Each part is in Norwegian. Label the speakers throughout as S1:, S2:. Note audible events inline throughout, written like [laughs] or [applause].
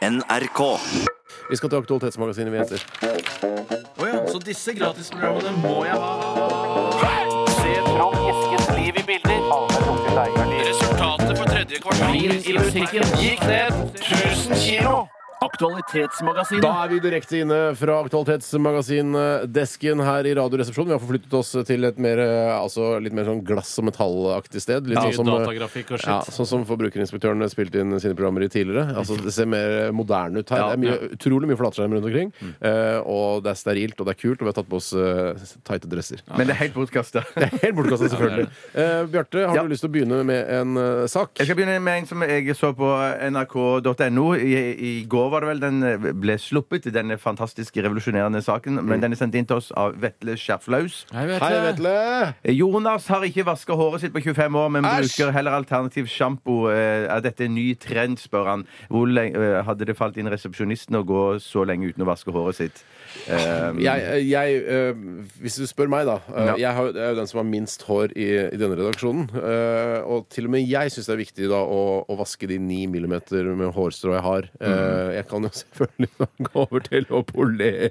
S1: NRK.
S2: Vi skal til Aktualitetsmagasinet, vi jenter.
S3: Så disse gratisprogrammene må jeg ha. Resultatet for tredje kvartal i musikken gikk ned 1000 kilo. Aktualitetsmagasinet.
S2: Da er vi direkte inne fra Aktualitetsmagasinet-desken her i Radioresepsjonen. Vi har forflyttet oss til et mer, eh, altså, litt mer sånn glass- og metallaktig sted. Litt
S3: Mye
S2: sånn som, eh,
S3: datagrafikk og shit.
S2: Ja, sånn som Forbrukerinspektørene spilte inn sine programmer i tidligere. Altså, Det ser mer moderne ut her.
S3: Ja,
S2: det er mye, utrolig mye flatskjerm rundt omkring. eh, og det er sterilt, og det er kult, og vi har tatt på oss eh, tighte dresser.
S4: Men det er helt bortkasta.
S2: [laughs] Det er helt bortkasta, selvfølgelig. Eh, Bjarte, har
S4: Ja.
S2: du lyst til å begynne med en eh, sak?
S4: Jeg skal begynne med en som jeg så på nrk.no. I, I går var det vel den eh, ble sluppet, denne fantastiske revolusjonerende saken.
S2: Mm.
S4: Men den er sendt inn til oss av Vetle Skjerflaus. Eh,
S2: Hei,
S3: eh,
S2: Vetle!
S4: Jonas har ikke vaska håret sitt på 25 år, men
S2: Æsj!
S4: bruker heller alternativ sjampo. Eh, Er dette en ny trend, spør han. Hvor lenge, eh, hadde det falt inn resepsjonisten å gå så lenge uten å vaske håret sitt? Eh,
S2: jeg, jeg, øh, hvis du spør meg, da. øh,
S4: Ja.
S2: Jeg har- jeg er jo den som har minst hår i, i denne redaksjonen. øh, og til og med jeg syns det er viktig da å, å vaske de ni millimeter med hårstrå jeg har.
S4: Mm.
S2: Eh, jeg kan jo [laughs] selvfølgelig da gå over til å
S4: [laughs]
S2: polere.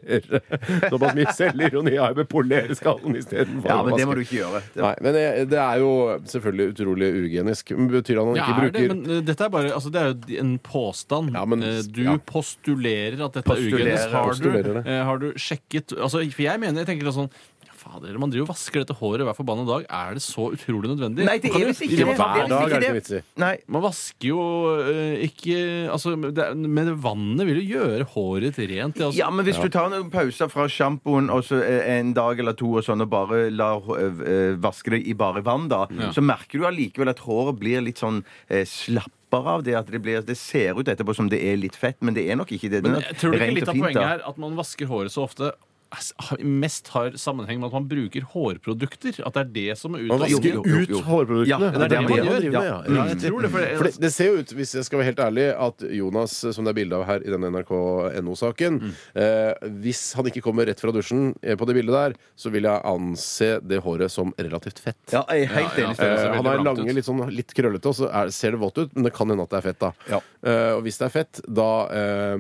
S2: Såpass mye selvironi har jeg med polereskallen istedenfor
S4: ja,
S2: å
S4: men
S2: vaske.
S4: det må du ikke gjøre. Det-
S2: Nei, men jeg, det er jo selvfølgelig utrolig uhygienisk. Men Betyr det at han
S3: Ja,
S2: ikke
S3: er det,
S2: bruker
S3: men eh, dette er bare altså, Det er jo en påstand.
S2: Ja, men-
S3: Eh, du
S2: ja.
S3: postulerer at dette er
S4: Postulerer,
S3: ugenes. Har,
S2: postulerer
S3: du-
S2: det.
S3: eh, har du sjekket altså, For jeg mener, jeg tenker da sånn ja, Fader, man driver og vasker dette håret hver forbanna dag. Er det så utrolig nødvendig?
S4: Nei, det
S3: Man
S4: er
S3: kan jo-
S4: visst ikke
S3: Ja,
S4: det.
S3: men faen,
S2: Hver
S4: det er
S2: dag
S4: ikke
S2: er det
S4: det.
S2: ikke vits i.
S4: Nei.
S3: Man vasker jo eh, ikke altså, det, er- Men vannet vil jo gjøre håret ditt rent. det, Altså.
S4: Ja, men hvis du tar en pause fra sjampoen og så eh, en dag eller to og sånn, og bare lar eh, eh, vaske det i bare vann, da, så merker du allikevel at håret blir litt sånn eh, slappere av det at det, blir, det ser ut etterpå som det er litt fett, men det er nok ikke det. Det er
S3: Men
S4: nok
S3: jeg tror du ikke
S4: rent
S3: litt
S4: og
S3: av
S4: fint,
S3: poenget
S4: da.
S3: er at man vasker håret så ofte s- har- mest har sammenheng med at man bruker hårprodukter. At det er det som er
S2: Man
S3: utgangspunktet.
S2: vasker
S4: Jo, jo, jo.
S2: ut hårproduktene.
S4: Ja, det er
S3: det man
S2: man
S3: gjør.
S2: driver med, ja.
S3: Ja. Ja, jeg tror det, for det- altså,
S2: For det, det ser jo ut, hvis jeg skal være helt ærlig, at Jonas, eh, som det er bilde av her i den NRK.no-saken eh, Hvis han ikke kommer rett fra dusjen eh, på det bildet der, så vil jeg anse det håret som relativt fett.
S4: Ja, jeg er helt
S3: Ja, ja.
S4: enig.
S3: det
S2: Eh,
S4: Steinar.
S3: ser veldig
S2: han er
S3: blankt
S2: lange,
S3: ut.
S2: litt, sånn, litt krøllete, og så er, ser det vått ut, men det kan hende at det er fett. da
S4: Ja.
S2: eh, Og hvis det er fett, da, eh,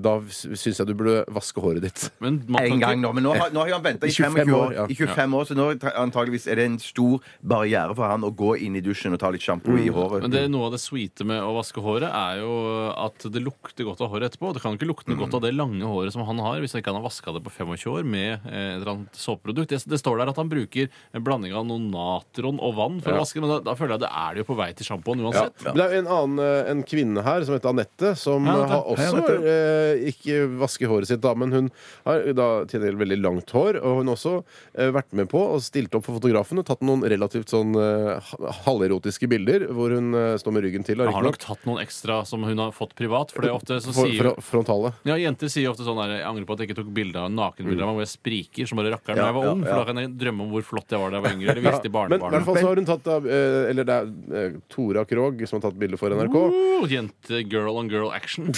S2: da syns jeg du burde vaske håret ditt.
S3: Men man kan
S4: En gang
S3: ikke-
S4: nå, men nå har, nå har han venta i
S2: I 25
S4: 25 år,
S2: år, ja.
S4: i 25 år så nå tra- antageligvis er det en stor barriere for han å gå inn i dusjen og ta litt sjampo i
S3: Mm.
S4: håret.
S3: Men det, noe av det sweete med å vaske håret er jo at det lukter godt av håret etterpå. Det kan jo ikke lukte godt av det lange håret som han har hvis han ikke han har vaska det på 25 år med eh, et eller annet såpeprodukt. Det, det står der at han bruker en blanding av noe natron og vann for å vaske, men da, da føler jeg det er det jo på vei til sjampoen
S2: Ja.
S3: uansett.
S2: Men Det er jo en annen eh, en kvinne her som heter Anette, som
S3: Hei,
S2: eh,
S3: Anette.
S2: har også eh, ikke vasker håret sitt, da, men hun har da til en del veldig langt hår. Og hun har også eh, vært med på og stilt opp for fotografen og tatt noen relativt sånn eh, ha- halverotiske bilder hvor hun eh, står med ryggen til. da,
S3: Jeg har
S2: riktignok.
S3: nok tatt noen ekstra som hun har fått privat, for det er ofte så
S2: For,
S3: sier
S2: fra- frontale.
S3: Ja, Jenter sier ofte sånn der, jeg angrer på at jeg ikke tok bilde av
S2: Mm.
S3: nakenbilder av meg hvor jeg spriker som bare rakkeren da jeg var ung. For da kan jeg drømme om hvor flott jeg var da jeg var yngre.
S2: [laughs]
S3: Eller
S2: Men
S3: viste
S2: i hvert
S3: barnebarnet.
S2: fall så har hun tatt da, eh, Eller det er eh, Tora Krog som har tatt bilde for NRK.
S3: Uh, jente girl on girl action.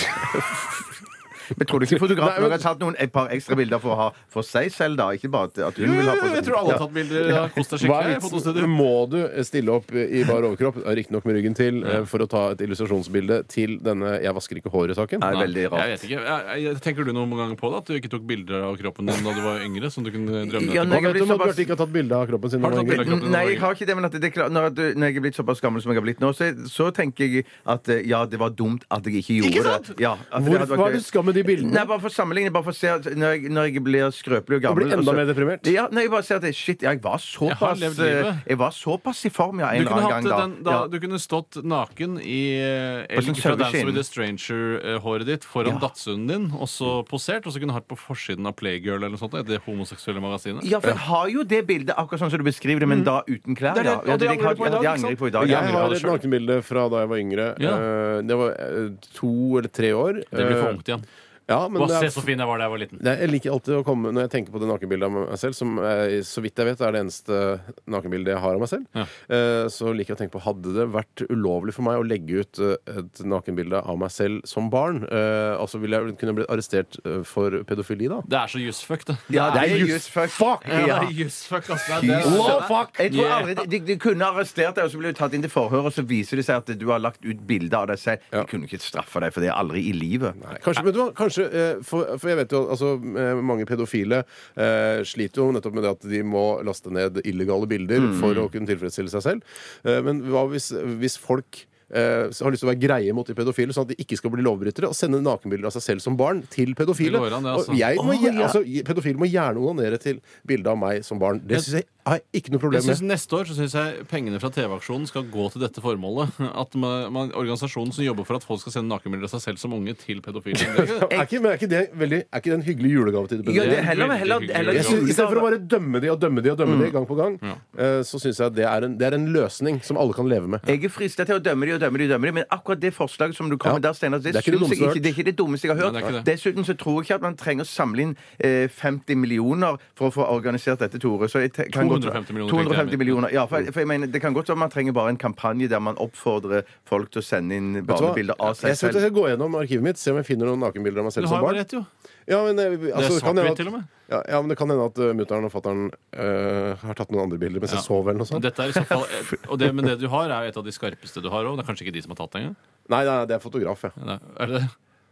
S4: Men tror
S3: [laughs]
S4: du ikke fotografen
S2: Nei, men-
S4: har tatt noen, et par ekstra bilder for, å ha, for seg selv, da? Ikke bare at, at hun
S3: [laughs]
S4: vil ha for
S3: Jeg tror alle har tatt bilder av
S2: Hva er
S3: Kosta skikkelig. på
S2: vitsen?
S3: fotostudio.
S2: Må du eh, stille opp i bar overkropp, riktignok med ryggen til, eh, for å ta et illustrasjonsbilde til denne 'jeg vasker ikke håret'-saken?
S4: Nei, veldig
S3: Jeg
S4: rart.
S3: vet ikke. Jeg, jeg, tenker du noen gang på det? At du ikke tok bilder av kroppen din da du var yngre? Som du kunne drømme
S4: Ja,
S2: Hva
S3: etterpå?
S4: Jeg
S2: vet
S4: har
S2: du om
S4: blitt
S2: at
S4: såpass-
S2: Bjarte ikke har tatt bilde av kroppen sin?
S3: Har du
S2: når han
S3: tatt
S2: var
S3: bilde?
S2: yngre?
S3: kroppen
S4: Nei,
S3: nå,
S4: jeg har ikke det, men at det er klart, når, at, når jeg er blitt såpass gammel som jeg har blitt nå, så, så tenker jeg at eh, ja, det var dumt at jeg ikke gjorde det. Ja, at det hadde
S2: Hvorfor
S4: vært
S2: har
S4: gøy.
S2: du skam med de
S4: Nei,
S2: bildene?
S4: bare for å sammenligne, bare for å se at når jeg, når jeg blir skrøpelig og
S2: Og
S4: gammel
S2: blir enda
S4: og så-
S2: mer deprimert?
S4: Altså, Ja, nei, jeg bare ser at det- shit, jeg var
S3: Jeg har
S4: såpass
S3: levd
S4: eh,
S3: livet.
S4: Jeg var såpass i form, ja, en
S3: Du
S4: eller
S3: kunne, hatt
S4: annen gang da.
S3: den, da,
S4: Ja.
S3: du kunne stått naken i eh,
S4: På sånn
S3: elg fra Dance
S4: saueskinn.
S3: with a Stranger-håret ditt foran
S4: Ja.
S3: dattsunden din, og så posert, og så kunne du hatt på forsiden av Playgirl eller noe sånt, det homoseksuelle magasinet.
S4: Ja, for jeg har jo det bildet akkurat sånn som du beskriver det, men da uten
S3: Mm.
S4: klær.
S3: Det er det-
S4: ja.
S3: og
S4: Ja,
S3: det angrer
S4: har-
S3: du på i dag,
S4: ja, det
S3: ikke
S4: angrer jeg på i
S3: sant?
S4: dag.
S3: Ja,
S2: Jeg
S4: Ja,
S3: angrer på
S2: har
S3: det
S2: et
S3: selv.
S2: nakenbilde fra da jeg var yngre.
S3: Ja.
S2: Eh, Det var eh, to eller tre år.
S3: Det blir for ungt igjen.
S2: Ja, men
S3: Å,
S2: det
S3: se
S2: er
S3: så fin jeg var da jeg var liten.
S2: Nei, Jeg liker alltid å komme Når jeg tenker på det nakenbildet av meg selv, som eh, så vidt jeg vet er det eneste nakenbildet jeg har av meg selv,
S3: Ja.
S2: eh, så liker jeg å tenke på hadde det vært ulovlig for meg å legge ut eh, et nakenbilde av meg selv som barn? Eh, altså ville jeg kunne blitt arrestert eh, for pedofili da?
S3: Det er så jusfucked, det.
S4: Ja, det er
S2: just
S4: just fuck.
S3: Ja, det
S4: Ja.
S3: er jusfucked, ass. Det er det.
S2: Wow, fuck!
S4: Jeg tror
S3: Yeah.
S4: aldri, de, de kunne arrestert deg, og så ble du tatt inn til forhør, og så viser det seg at du har lagt ut bilde av deg selv. De
S2: Ja.
S4: kunne ikke straffa deg for det aldri i livet.
S2: Nei, Kanskje, men du, hva, kanskje eh, for, for jeg vet jo altså, eh, mange pedofile eh, sliter jo nettopp med det at de må laste ned illegale bilder
S3: Mm.
S2: for å kunne tilfredsstille seg selv. Eh, men hva hvis, hvis folk eh, har lyst til å være greie mot de pedofile, sånn at de ikke skal bli lovbrytere, og sende nakenbilder av seg selv som barn til pedofile?
S3: Det går an, det, altså.
S2: Og jeg må,
S4: Å,
S2: gje-
S4: ja.
S2: altså, je- pedofile må gjerne onanere til bilde av meg som barn. Det syns jeg har jeg ikke noe
S3: Jeg
S2: problem
S3: synes
S2: med.
S3: Neste år så synes jeg pengene fra TV-aksjonen skal gå til dette formålet. At man, man, Organisasjonen som jobber for at folk skal sende nakenbilder av seg selv som unge til pedofile. Det
S2: [laughs]
S3: er ikke-
S2: Er ikke, men er ikke, det, veldig, er ikke det en hyggelig julegave til de
S4: Ja,
S2: pedofile?
S4: det er heller, heller,
S3: Veldig
S4: heller
S3: hyggelig.
S2: Jeg synes, I stedet for å bare dømme de og dømme de og dømme
S3: Mm.
S2: de gang på gang, eh, så syns jeg at det er, en, det er en løsning som alle kan leve med.
S4: Jeg er frista til å dømme de og dømme de, og dømme de men akkurat det forslaget som du kom med
S2: Ja.
S4: der, Steinar, det,
S2: Det er ikke det
S4: synes jeg
S2: dummeste jeg har
S4: ikke- det er ikke det dummeste jeg har hørt.
S3: Nei, det er ikke det.
S4: Dessuten så tror jeg ikke at man trenger å samle inn eh, 50 millioner for å få organisert dette, Tore. Så jeg te- kan godt-
S3: 250 millioner, tenkte jeg.
S4: 250 millioner. Ja,
S2: Mm.
S4: for, for jeg mener, det kan godt være man trenger bare en kampanje der man oppfordrer folk til å sende inn
S2: Vet du hva?
S4: barnebilder av seg
S2: Jeg skal jeg
S4: selv.
S2: skal gå gjennom arkivet mitt, se om jeg finner noen nakenbilder av meg
S3: Du
S2: selv
S3: har
S2: som
S3: jo
S2: barn.
S3: rett, jo.
S2: Ja, men, eh, altså,
S3: Det er
S2: kan hende
S3: svart-hvitt
S2: at-
S3: til og med.
S2: Ja, ja, men det kan hende at uh, mutter'n og fatter'n eh, har tatt noen andre bilder mens
S3: Ja.
S2: jeg sov. eller noe sånt.
S3: Dette er i så fall, og det, men det du har, er jo et av de skarpeste du har òg. Det er kanskje ikke de som har tatt det engang?
S2: Nei, nei, det er fotograf. Ja.
S3: Nei, Er det det?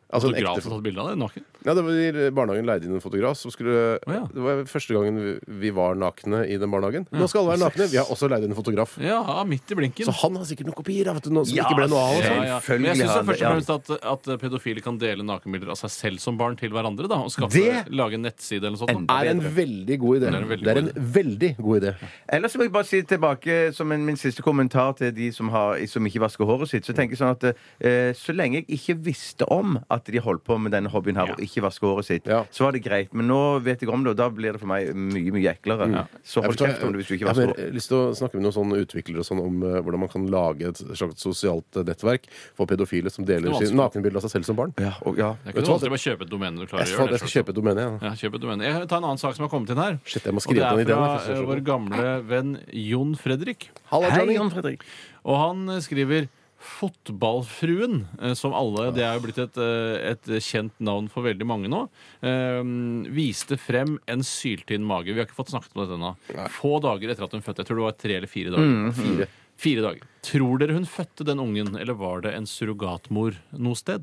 S2: Altså, en
S3: Fotograf
S2: ekte
S3: som har tatt bilde av det? Naken?
S2: Ja, det var i Barnehagen leide inn en fotograf. Som skulle,
S3: Å, ja.
S2: Det var første gangen vi, vi var nakne i den barnehagen. Nå skal alle være nakne. Vi har også leid inn en fotograf.
S3: Ja, midt i blinken.
S2: Så han har sikkert noen kopier av, vet du, noe som
S4: Ja,
S2: ikke ble noe av.
S4: se.
S2: Altså.
S3: Ja, ja. Men jeg
S4: Selvfølgelig
S3: syns
S4: har han
S3: først
S4: det,
S3: og
S4: ja.
S3: fremst at, at pedofile kan dele nakenbilder av seg selv som barn til hverandre. da Og skaffe,
S2: Det-
S3: lage en nettside eller noe sånt. da.
S2: er en veldig god idé.
S3: Det er en veldig
S2: Det er
S3: god
S2: en veldig god idé.
S4: Ellers så må jeg bare si tilbake som en, min siste kommentar til de som, har, som ikke vasker håret sitt. Så tenker jeg sånn at eh, så lenge jeg ikke visste om at de holdt på med denne hobbyen her, og ikke vasker håret sitt,
S2: Ja.
S4: så var det greit. Men nå vet jeg om det, og da blir det for meg mye, mye eklere. Så
S2: Jeg
S4: hold
S2: forstår-
S4: kjeft om det hvis du ikke
S2: jeg har
S4: vasker
S2: mer
S4: håret.
S2: lyst til å snakke med noen sånne utviklere og sånn om eh, hvordan man kan lage et slags sosialt eh, nettverk for pedofile som deler
S3: Det er
S2: sine nakenbilder av seg selv som barn.
S4: Ja, og, ja.
S3: Det
S2: Vet du hva?
S3: er ikke noe vanskelig å bare kjøpe et domene du klarer
S2: Jeg,
S3: å
S2: sa
S3: gjøre.
S2: det, jeg skal kjøpe et domene. jeg, da.
S3: Ja, kjøp et domene. Jeg tar en annen sak som har kommet inn her.
S2: Shit, jeg må
S3: Og det
S2: skrive
S3: er
S2: ned ideen. jeg,
S3: fra eh,
S2: for
S3: vår
S2: jeg skjønner.
S3: gamle venn Jon Fredrik.
S2: Halla,
S4: Hei,
S2: Johnny.
S4: Jon Fredrik.
S3: Og han eh, skriver Fotballfruen, eh, som alle Det er jo blitt et, eh, et kjent navn for veldig mange nå. eh, viste frem en syltynn mage. Vi har ikke fått snakket om dette ennå. Få dager etter at hun fødte. Jeg tror det var tre eller fire dager.
S2: Mm, Fire.
S3: Fire dager. Tror dere hun fødte den ungen, eller var det en surrogatmor noe sted?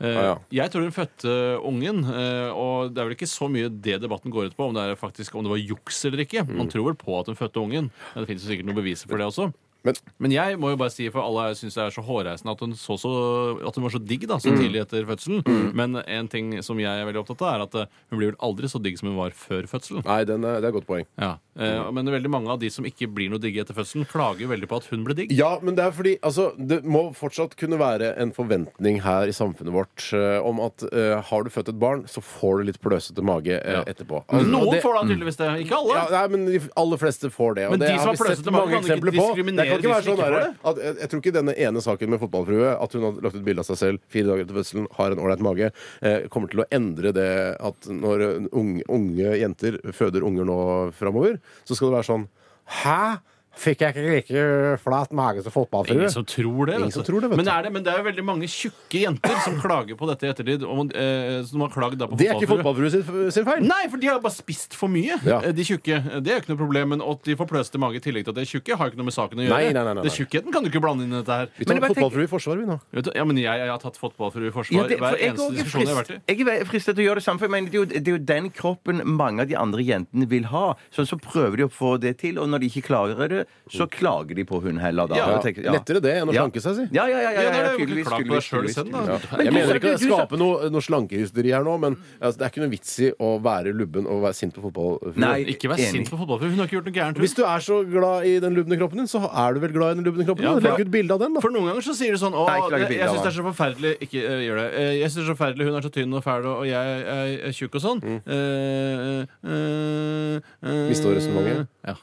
S3: Eh,
S2: Ah,
S3: Jeg tror hun fødte ungen, eh, og det er vel ikke så mye det debatten går ut på, om det, er faktisk, om det var juks eller ikke.
S2: Mm.
S3: Man tror vel på at hun fødte ungen. Men det finnes jo sikkert noen beviser for det også.
S2: Men
S3: Men jeg må jo bare si, for alle syns det er så hårreisende at hun, så så, at hun var så digg da,
S2: Mm.
S3: så tidlig etter fødselen. Men en ting som jeg er veldig opptatt av, er at eh, hun blir vel aldri så digg som hun var før fødselen.
S2: nei, den er, det er et godt poeng.
S3: Ja. Eh,
S2: Mm.
S3: Men veldig mange av de som ikke blir noe digge etter fødselen, klager jo veldig på at hun ble digg.
S2: Ja, men det er fordi altså, Det må fortsatt kunne være en forventning her i samfunnet vårt eh, om at eh, har du født et barn, så får du litt pløsete mage eh,
S3: Ja.
S2: etterpå.
S3: Noen
S2: og det- Mm.
S3: får da tydeligvis det, ikke alle.
S2: Ja, nei, men De aller fleste får det. Og
S3: Men
S2: det
S3: de som har pløsete mage, kan ikke diskriminere
S2: Det kan ikke
S3: de
S2: være
S3: som
S2: sånn
S3: ikke
S2: der,
S3: får det.
S2: at, jeg, jeg tror ikke denne ene saken med fotballfrue, at hun har lagt ut bilde av seg selv fire dager etter fødselen, har en ålreit mage, eh, kommer til å endre det at når eh, unge, unge jenter føder unger nå framover, så skal det være sånn Hæ? Fikk jeg ikke like flat mage som fotballfrue?
S3: Ingen som tror det.
S2: Ingen
S3: vet
S2: som
S3: du.
S2: tror det, vet
S3: men,
S2: du.
S3: er det, men det er jo veldig mange tjukke jenter som klager på dette i ettertid. Og, eh, som har klagd da på
S2: Det er ikke
S3: fotballfrue.
S2: fotballfrue sin, sin feil!
S3: Nei, for de har bare spist for mye.
S2: Ja.
S3: Eh, De tjukke. Det er jo ikke noe problem. Men at de får pløsete mage i tillegg til at de er tjukke, har jo ikke noe med saken å gjøre.
S2: Nei, nei, nei, nei,
S3: Det er tjukkheten kan du ikke blande inn i dette her.
S2: Vi
S4: Men
S2: tar
S4: jeg bare tenker-
S2: fotballfrue i forsvar, vi nå.
S3: Vet du, ja, men jeg, jeg har tatt fotballfrue i forsvar
S4: Ja, det- for
S3: hver
S4: jeg
S3: eneste
S4: også er
S3: diskusjon jeg har vært i.
S4: frist- Jeg er fristet til å gjøre det samme, for jeg mener, det, er jo, det er jo den kroppen mange av de andre jentene vil ha. Så, så prøver de å få det til, og når de ikke klarer det, så klager de på hun heller. Da.
S3: Ja,
S4: Jeg tenker-
S2: Lettere det enn å
S4: Ja.
S2: slanke seg, si.
S4: Ja,
S3: Ja,
S4: ja, ja. ja, ja,
S3: det er det. Du kan
S4: tydeligvis,
S3: klage på deg
S4: tydeligvis,
S3: sjøl
S4: tydeligvis,
S3: selv, da.
S4: tydeligvis.
S2: jeg
S3: Ja.
S4: du
S2: mener
S4: sa-
S2: ikke å
S4: du sa-
S2: skape noe, noe slankehysteri her nå, men altså, det er ikke noe vits i å være lubben og være sint på fotball.
S4: Nei.
S3: Ikke vær
S4: Enig.
S3: sint på fotballfrue. Hun har ikke gjort noe gærent. hun.
S2: Hvis du er så glad i den lubne kroppen din, så er du vel glad i den lubne kroppen?
S3: Ja,
S2: din?
S3: for-
S2: Legg ut bilde av den, da.
S3: For noen ganger så sier du sånn Å,
S4: Nei, ikke lage
S3: jeg, jeg
S4: bilder av
S3: syns det er så forferdelig Ikke eh, gjør det. Eh, Jeg syns det er så forferdelig Hun er så tynn og fæl, og jeg er, er tjukk og sånn. Mm.
S2: Mistet du resonnementet?
S3: eh, Ja.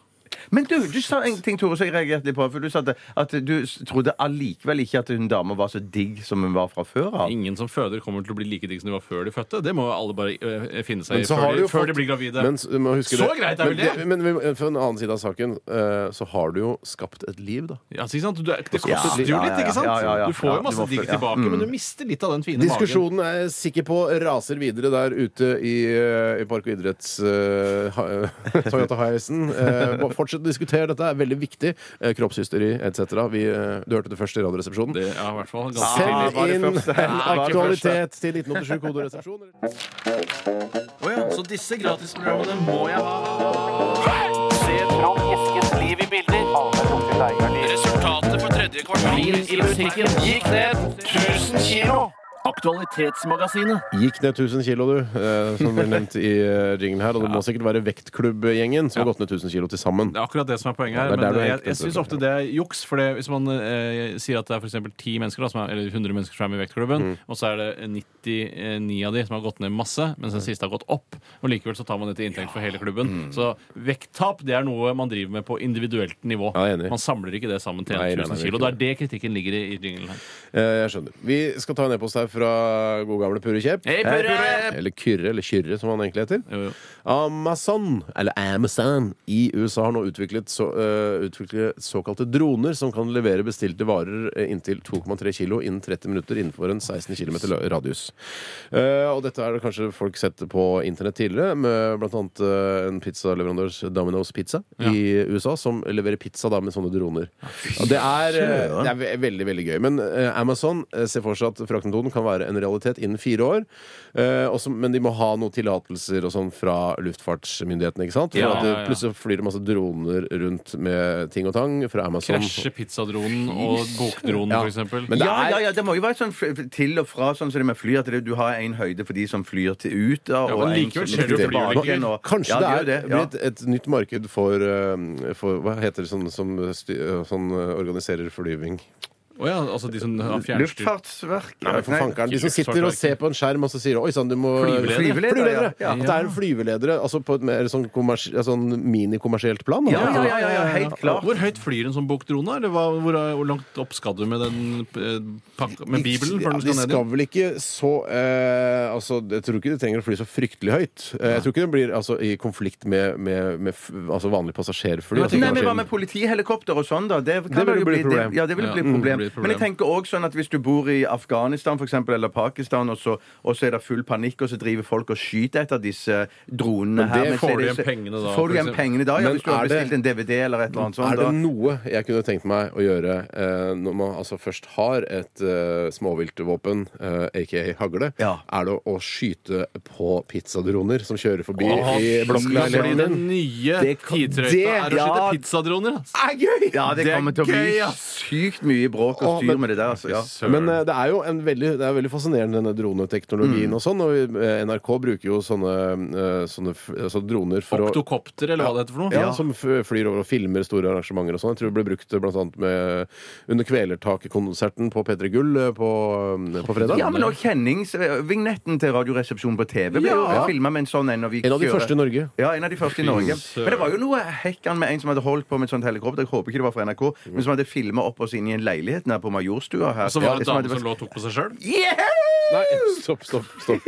S4: Men du, du sa en ting, Tore, som jeg reagerte litt på. For du sa at, at du s- trodde allikevel ikke at hun dama var så digg som hun var fra før av.
S3: Ingen som føder, kommer til å bli like digg som de var før de fødte. Det må jo alle bare eh, finne seg i
S2: Men så
S3: før,
S2: har du
S3: de,
S2: jo
S3: før
S2: fått-
S3: de blir gravide.
S2: Men s- du må huske
S3: Så
S2: det.
S3: greit er vel
S2: men
S3: det?
S2: Men, vi- for en annen side av saken, eh, så har du jo skapt et liv, da.
S3: Ja, så ikke sant? Du, er- det
S4: Ja,
S3: koster jo
S4: ja, ja,
S3: litt, ikke sant?
S4: ja, ja, ja.
S3: Du får
S4: Ja,
S3: jo masse
S4: du må Mm.
S3: digg
S4: fø- ja.
S3: tilbake, men du mister litt av den fine magen.
S2: Diskusjonen er jeg sikker på raser videre der ute i, eh, i Park og idretts eh, [laughs] ha- Toyota Hiacen. Eh, bare fortsett å diskutere dette, er veldig viktig. Eh, kroppshysteri etc. Vi, eh, du hørte det først i Radioresepsjonen.
S3: Det er i hvert fall ganske
S4: Ah,
S2: Send
S4: var det
S2: inn en
S4: første? Ah, var det
S2: aktualitet til 1987 koderesepsjon. eller?
S3: Så disse gratisprogrammene må jeg ha.
S1: Resultatet på tredje kvartal i musikken gikk ned 1000 kilo. Aktualitetsmagasinet.
S2: Gikk ned 1000 kilo, du, eh, som
S1: [laughs]
S2: ble nevnt i eh, jinglen her. Og det må sikkert være Vektklubbgjengen som har gått ned 1000 kilo til sammen.
S3: Det er akkurat det som er poenget
S2: Ja,
S3: her.
S2: det er der
S3: men
S2: du er
S3: jeg,
S2: helt
S3: jeg syns ofte det er juks. For det, hvis man eh, sier at det er for eksempel 10 mennesker, da, som er, eller 100 mennesker som er med i vektklubben,
S2: Mm.
S3: og så er det 99 av de som har gått ned masse, mens den siste har gått opp, og likevel så tar man det til inntekt for hele klubben.
S2: Mm.
S3: Så vekttap det er noe man driver med på individuelt nivå.
S2: Ja, jeg er enig.
S3: man samler ikke det sammen til
S2: Nei, nei, nei,
S3: 1000
S2: det er
S3: kilo.
S2: ikke
S3: Det er det kritikken ligger i, i jinglen her.
S2: Eh, Jeg skjønner. Vi skal ta en e-post her fra god gamle Purre Kjepp.
S3: Hei, Purre!
S2: Eller Kyrre, eller Kyrre, som han egentlig heter.
S3: Jo, jo.
S2: Amazon, eller Amazon, i USA har nå utviklet, så, eh, utviklet såkalte droner som kan levere bestilte varer eh, inntil 2,3 kilo innen 30 minutter innenfor en 16 km radius. Eh, og dette er det kanskje folk sett på internett tidligere, med blant annet eh, en pizzaleverandør, Domino's Pizza, i USA, som leverer pizza da med sånne droner. Og det er, eh, det er ve- veldig, veldig gøy. Men eh, Amazon eh, ser for seg at fraktmetoden kan være en realitet innen fire år, eh, og som- men de må ha noen tillatelser og sånn fra luftfartsmyndighetene, ikke sant? For
S3: Ja,
S2: at det,
S3: ja, ja.
S2: plutselig flyr det masse droner rundt med ting og tang fra Amazon.
S3: Krasje pizzadronen og
S2: Sånn.
S3: bokdronen,
S2: Ja.
S3: for eksempel.
S2: Men det
S4: ja,
S2: er-
S4: ja, ja, det må jo være sånn fl- til og fra, sånn som det med fly, at det, du har en høyde for de som flyr til ut. Da,
S3: Ja,
S4: og
S3: men
S4: en
S3: likevel
S4: som
S3: skjer det jo
S4: flyr tilbake
S3: flyulykker.
S4: igjen, og-
S2: Kanskje
S4: ja,
S2: det,
S4: gjør
S2: er,
S4: ja.
S2: blir et, et nytt marked for, eh, for Hva heter det som, som, sty, som eh, organiserer flyvning?
S3: Å ja, altså de som har fjernstyrt
S4: Luftfartsverket
S2: Nei, men for fankeren, De som sitter og ser på en skjerm og så sier de, Oi sann, du må Flyveledere,
S3: Flyveledere.
S4: Ja.
S2: At det er flyveledere altså på et mer sånn, kommers- ja, sånn minikommersielt plan. da.
S4: Ja, ja, ja, ja, ja, helt klart.
S3: Hvor høyt flyr en sånn bokdrone? Eller hva, hvor, hvor langt opp skal du med den eh, pakka, med Bibelen?
S2: Ja,
S3: Før den
S2: de
S3: skal ned
S2: skal
S3: igjen?
S2: vel ikke så eh, altså, Jeg tror ikke de trenger å fly så fryktelig høyt. Eh, jeg tror ikke det blir altså, i konflikt med, med, med f- altså, vanlig passasjerfly.
S4: Nei, men
S2: Altså,
S4: hva med politihelikopter og sånn, da? Det,
S2: Det
S4: kan
S2: vil
S4: jo
S2: jo bli et problem.
S4: Det, ja, det vil
S3: Ja,
S4: bli et
S3: det blir et
S4: problem.
S3: problem.
S4: Men jeg tenker også sånn at hvis du bor i Afghanistan for eksempel, eller Pakistan, og så, og så er det full panikk, og så driver folk og skyter etter disse
S2: Men
S4: dronene her
S2: det
S4: men så
S3: får
S4: er
S3: du
S4: det-
S3: igjen pengene da, for
S4: Får du igjen
S3: eksempel.
S4: pengene da, ja,
S2: Men
S4: hvis du har
S2: er det-
S4: bestilt en DVD eller et eller annet sånt.
S2: Er det
S4: Da.
S2: noe jeg kunne tenkt meg å gjøre eh, når man altså først har et eh, småviltvåpen, eh, aka hagle,
S4: Ja.
S2: er det å, å skyte på pizzadroner som kjører forbi
S3: Åh,
S2: i
S3: fordi
S2: blokkleiligheten
S3: den
S2: din?
S3: nye
S2: Det kan- det-
S3: tidtrøyta er å
S4: ja.
S3: skyte pizzadroner. ass.
S2: er gøy!
S4: Ja, det,
S3: Det er
S4: kommer til å bli
S3: gøy, ass.
S4: sykt mye bråk og
S2: Å,
S4: styr
S2: men-
S4: med det der, altså. Ja.
S3: Søren.
S2: Men eh, det er jo en veldig, det er veldig fascinerende, denne droneteknologien
S4: Mm.
S2: og sånn. Og vi- eh, NRK bruker jo sånne, eh, sånne, f- altså droner for å
S3: Oktokopter, eller hva det heter for noe.
S2: Ja, som f- flyr over og filmer store arrangementer og sånn. Jeg tror det ble brukt blant annet med under Kvelertaket-konserten på P3 Gull eh, på, på fredag.
S4: Ja, men også kjenningsvignetten til Radioresepsjonen på TV ble jo
S2: Ja.
S4: filma med en sånn en. og vi
S2: En av de
S4: kjører-
S2: første i Norge.
S4: Ja, en av de første i Norge. Men det var jo noe hekkan med en som hadde holdt på med et sånt helikopter. Jeg håper ikke det var fra NRK, men som hadde filma opp oss inn i en leilighet nær på Majorstua
S3: Mm.
S4: her.
S3: Og så var det en
S4: Ja,
S3: dame som lå og tok på seg sjøl.
S4: Yeah!
S2: Nei, stopp, stopp, stopp.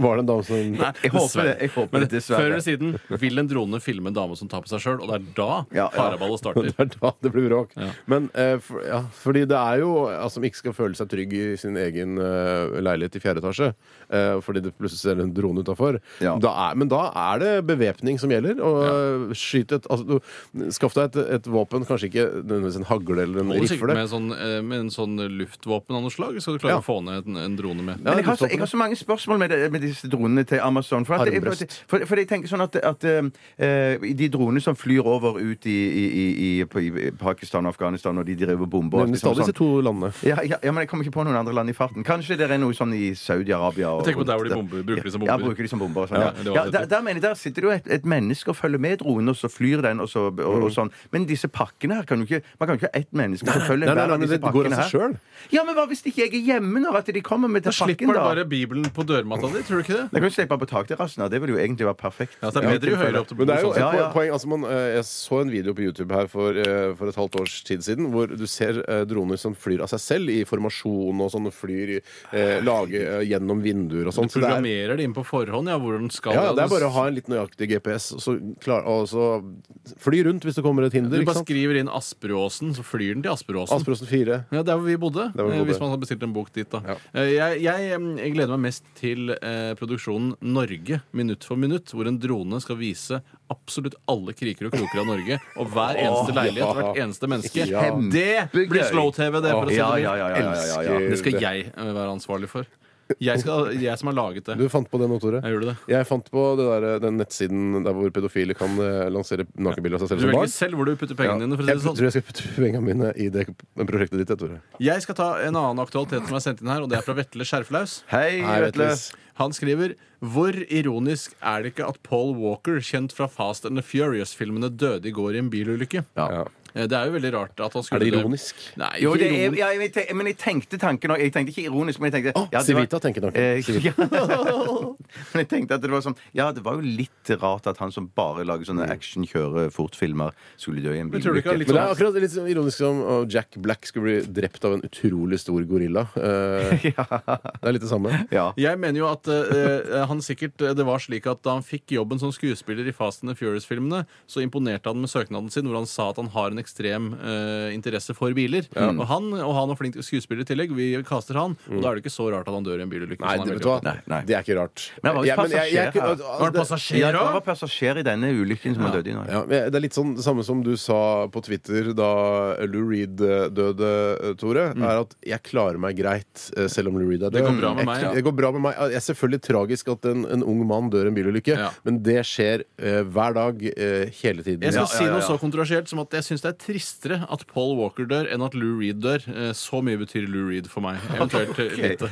S2: Var det en dame som
S4: Jeg håper det. jeg håper
S3: Før
S4: det, Dessverre.
S3: eller siden vil en drone filme en dame som tar på seg sjøl, og det er da
S4: Ja, ja.
S3: paraballet starter.
S2: Det er da det blir bråk.
S3: Ja.
S2: Men eh, for, ja, fordi det er jo altså, som ikke skal føle seg trygg i sin egen eh, leilighet i fjerde etasje, eh, fordi det plutselig ser en drone utafor.
S4: Ja.
S2: Men da er det bevæpning som gjelder. Og eh, skyt et altså, du, Skaff deg et, et våpen, kanskje ikke nødvendigvis en hagle eller en
S3: Holder sikkert
S2: rifle.
S3: med, en sånn, eh, med en sånn luftvåpen av noe slag skal du klare
S2: Ja.
S3: å få ned en, en drone med.
S2: Ja,
S4: Men jeg har, så,
S2: lufthoppene.
S4: jeg har så mange spørsmål med, det, med disse dronene til Amazon. For, at, for,
S2: Armbrøst.
S4: for, for jeg tenker sånn at, at eh, de dronene som flyr over ut i, i, i, i, på- i Pakistan og Afghanistan, og de driver bomber og alt
S2: Nevner
S4: det sånn-
S2: stadig disse to
S4: sånn.
S2: landene.
S4: ja, ja, ja, men jeg kommer ikke på noen andre land i farten. Kanskje det er noe sånn i Saudi-Arabia. og-
S3: Tenk på der hvor de bomber, bruker de som bomber.
S4: Ja, bruker de som bomber og sånn,
S3: Ja,
S4: ja.
S3: det var
S4: ja,
S3: det.
S4: der, der, mener jeg, der sitter det jo et, et menneske og følger med dronen, og så flyr den, og, så, og,
S3: Mm.
S4: og sånn. Men disse pakkene her kan jo ikke Man kan jo ikke ha ett menneske som følger
S2: Nei, nei,
S4: hver
S2: nei,
S4: av
S2: men
S4: disse
S2: det går av
S4: pakkene
S2: seg
S4: her.
S2: sjøl.
S4: Ja, men hva hvis ikke jeg er hjemme når at de kommer med
S3: Da
S4: pakken,
S3: slipper du
S4: da?
S3: bare Bibelen på dørmatta di, tror du ikke det?
S4: Jeg kan jo slippe på takterrassen. da. Det ville jo egentlig vært perfekt.
S3: Ja, det er bedre jo høyere opp til
S2: Men det er jo
S3: bordet.
S2: et
S3: sånn.
S4: Ja, ja.
S2: poeng altså man, eh, Jeg så en video på YouTube her for, eh, for et halvt års tid siden hvor du ser eh, droner som flyr av seg selv i formasjon og sånn flyr eh, lage eh, gjennom vinduer og sånn. Så
S3: Du
S2: det er-
S3: programmerer det inn på forhånd, ja, hvor den skal.
S2: ja, ja, det er bare å ha en litt nøyaktig GPS, og så, klar, og så fly rundt hvis det kommer et hinder.
S3: Du
S2: ikke
S3: bare
S2: sant?
S3: skriver inn Asperåsen, så flyr den til Asperåsen.
S2: Asperosen 4.
S3: Ja, Der hvor vi bodde.
S2: Der hvor vi
S3: eh,
S2: bodde.
S3: Hvis man hadde bestilt en bok dit, da.
S2: Ja.
S3: Eh, Jeg, jeg, em, jeg gleder meg mest til eh, produksjonen Norge minutt for minutt, hvor en drone skal vise absolutt alle kriker og kroker av Norge, og hver eneste leilighet, hvert eneste menneske.
S2: Ja.
S3: Det blir slow-TV, det, for å si
S4: Ja,
S3: det
S4: ja,
S3: mildt.
S4: ja, ja, ja, ja, ja.
S3: Det skal jeg eh, være ansvarlig for. Jeg, skal, jeg som har laget
S2: Du
S3: det.
S2: fant på det nå, Tore.
S3: Jeg gjorde det.
S2: Jeg fant på det der, eh, den nettsiden der hvor pedofile kan eh, lansere nakenbilder av seg selv
S3: Du
S2: som
S3: velger
S2: barn.
S3: selv hvor du putter pengene dine. for å si
S2: jeg
S3: det sånn.
S2: tror jeg skal putte pengene mine i det prosjektet ditt. Jeg, Tore.
S3: Jeg skal ta en annen aktualitet som er sendt inn her, og det er fra Vetle Skjerflaus.
S4: Hei,
S2: Nei, vet du.
S4: Vetle.
S3: Han skriver Hvor ironisk er det ikke at Paul Walker, kjent fra Fast and the Furious-filmene, døde i går i en bilulykke?
S2: Ja.
S3: Eh, Det er jo veldig rart at han
S2: Er
S3: skulle
S2: det ironisk?
S3: Nei,
S4: Jo, det er,
S3: ironisk.
S4: ja, jeg, te- men jeg tenkte tanken òg. Jeg tenkte ikke ironisk, men jeg tenkte
S2: Å,
S4: ja, det var-
S2: Civita tenker tanken.
S4: Eh, [laughs]
S2: Civita.
S4: ja.
S3: [laughs]
S4: [laughs] Men jeg tenkte at det var sånn Ja, det var jo litt rart at han som bare lager sånne action, kjører fort-filmer, skulle dø i en
S3: Men tror du ikke han
S2: Men
S3: litt
S4: bilulykke.
S2: det
S4: [laughs]
S3: sånn-
S2: er akkurat litt sånn ironisk som om Jack Black skulle bli drept av en utrolig stor gorilla. Eh, Det er litt det samme.
S4: [laughs] Ja.
S3: Jeg mener jo at eh, han sikkert Det var slik at da han fikk jobben som skuespiller i Fast and the Furious-filmene, så imponerte han med søknaden sin, hvor han sa at han har en ekstrem eh, interesse for biler. Og, han, og han er flink skuespiller i tillegg. Vi kaster han, og da er det ikke så rart at han dør i en bilulykke.
S2: Mm. Nei, det,
S3: så han Sånn
S2: vet
S3: er veldig
S2: du hva?
S4: Nei, nei.
S2: det er ikke rart.
S4: Men han var jo
S2: Ja, men jeg- jeg-
S4: passasjer her.
S2: altså,
S3: Var det
S2: det-
S3: passasjer
S4: Ja,
S3: òg?
S4: han var passasjer i denne ulykken som han døde i nå.
S2: Ja, men jeg- det er litt sånn det samme som du sa på Twitter da Lou Reed eh, døde, eh, Tore.
S4: Mm.
S2: Er at jeg klarer meg greit eh, selv om Lou Reed er død.
S3: Det går bra med
S2: jeg,
S3: meg, ja.
S2: Det går bra med meg. Det er selvfølgelig tragisk at en, en ung mann dør i en bilulykke,
S3: Ja.
S2: men det skjer eh, hver dag, eh, hele tiden.
S3: Jeg skal
S4: Ja,
S3: si
S4: ja, ja,
S3: noe
S4: ja.
S3: så kontroversielt som at jeg syns det er tristere at Paul Walker dør, enn at Lou Reed dør. Eh, Så mye betyr Lou Reed for
S4: [laughs]
S3: meg. Eventuelt eh,
S4: Ok.
S3: lite.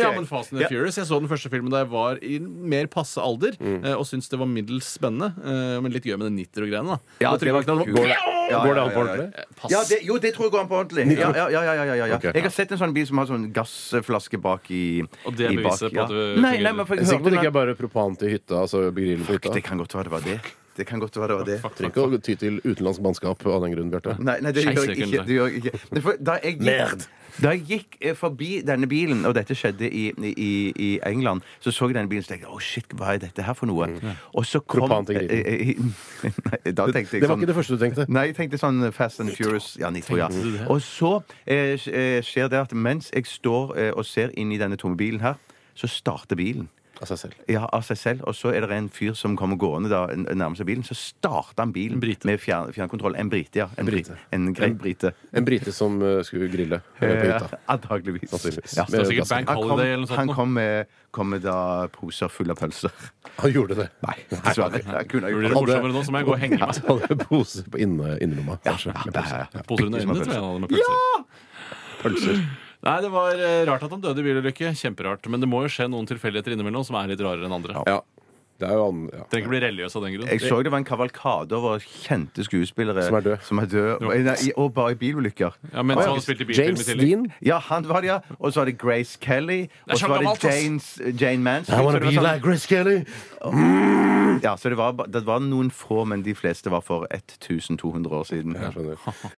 S3: Ja, men Fast and the Furious. Jeg så den første filmen da jeg var i mer passe alder,
S4: Mm.
S3: eh, og syntes det var middels spennende. eh, Men litt gøy med den nitter og greiene, da.
S4: Ja,
S3: Da tror jeg
S4: det var
S3: ikke det
S4: kult.
S3: var-
S4: Ja, ja,
S2: Går det an på
S4: ja, ja, ja.
S2: ordentlig?
S3: Eh, Pass.
S4: Ja, det, jo, det tror jeg går an på ordentlig. Ja, ja, ja, ja, ja, ja, ja.
S2: Ok.
S4: Jeg har sett en sånn bil som har sånn gassflaske bak i
S3: Og det er
S4: i bak,
S3: beviset på
S4: ja.
S3: at det
S4: Nei,
S3: fungerer.
S4: nei, men for
S2: Jeg er sikker på at det
S4: jeg hørte
S2: ikke er bare propan til hytta, altså grillen på hytta.
S4: Det kan godt være det var det. Det kan godt være det var det.
S2: Trenger ikke å ty til utenlandsk mannskap av den grunn, Bjarte.
S4: Nei, nei, det
S3: Scheisse,
S4: gjør jeg
S3: kunne du
S4: ikke. Det gjør jeg ikke. Men for, da, jeg gikk, da jeg gikk eh, forbi denne bilen, og dette skjedde i, i, i England, så så jeg denne bilen og tenkte jeg, å shit, hva er dette her for noe?
S2: Mm.
S4: Og så kom
S2: Propan til
S4: eh, eh, [laughs] Nei, da tenkte jeg
S2: Det var
S4: sånn-
S2: ikke det første du tenkte.
S4: Nei, jeg tenkte sånn Fast and Furious. Ja, Nitro, ja. Og så eh, sk- eh, skjer det at mens jeg står eh, og ser inn i denne tomme bilen her, så starter bilen.
S2: Av seg selv.
S4: Ja, av seg selv. Og så er det en fyr som kommer gående da, n- nærmer seg bilen. Så starter han bilen
S3: brite.
S4: med fjern, fjernkontroll. En brite, ja. En,
S2: brite.
S4: brite. en grei brite.
S2: En brite som eh, skulle grille eh, på hytta.
S4: Antakeligvis.
S2: Sannsynligvis.
S4: Ja.
S3: Det var sikkert Bank
S4: Han, kom,
S3: Holiday eller noe sånt.
S4: han
S3: nå.
S4: kom, med, kom med da poser fulle av pølser.
S2: Han gjorde det.
S4: Nei, [laughs] dessverre. Jeg kunne
S3: Blir
S4: jo
S3: det
S4: gjort det.
S3: morsommere nå, så må jeg gå og henge meg.
S2: Han hadde pose på inne, innerlomma. kanskje,
S4: Ja,
S2: med
S4: det
S2: pølser.
S4: er- ja.
S3: Poser under
S4: Ikke som
S3: øynene,
S4: en
S3: tror jeg
S4: pølse.
S3: han hadde med pølser.
S2: Pølser.
S3: Nei, det var eh, rart at han døde i bilulykke. Kjemperart. Men det må jo skje noen tilfeldigheter innimellom som er litt rarere enn andre.
S2: Ja. Det er jo an... Ja.
S3: Trenger ikke bli religiøs av den grunn.
S4: Jeg så det var en kavalkade over kjente skuespillere
S2: Som er død.
S4: som er død. Og, nei, i- og bare i bilulykker.
S3: Ja, mens han Sånn spilte i bilfilm i
S2: James
S3: tillegg.
S2: Dean.
S4: Ja, han var det, ja. Og så var det Grace Kelly. Og så
S3: så
S4: var det
S3: gammelt, ass.
S4: Janes, Jane Mansfield.
S2: I
S4: Så
S2: wanna
S4: det var
S2: be
S4: sånn-
S2: like Grace Kelly.
S4: Ja, så det var, ba- det var noen få, men de fleste var for 1200 år siden.
S2: Jeg skjønner.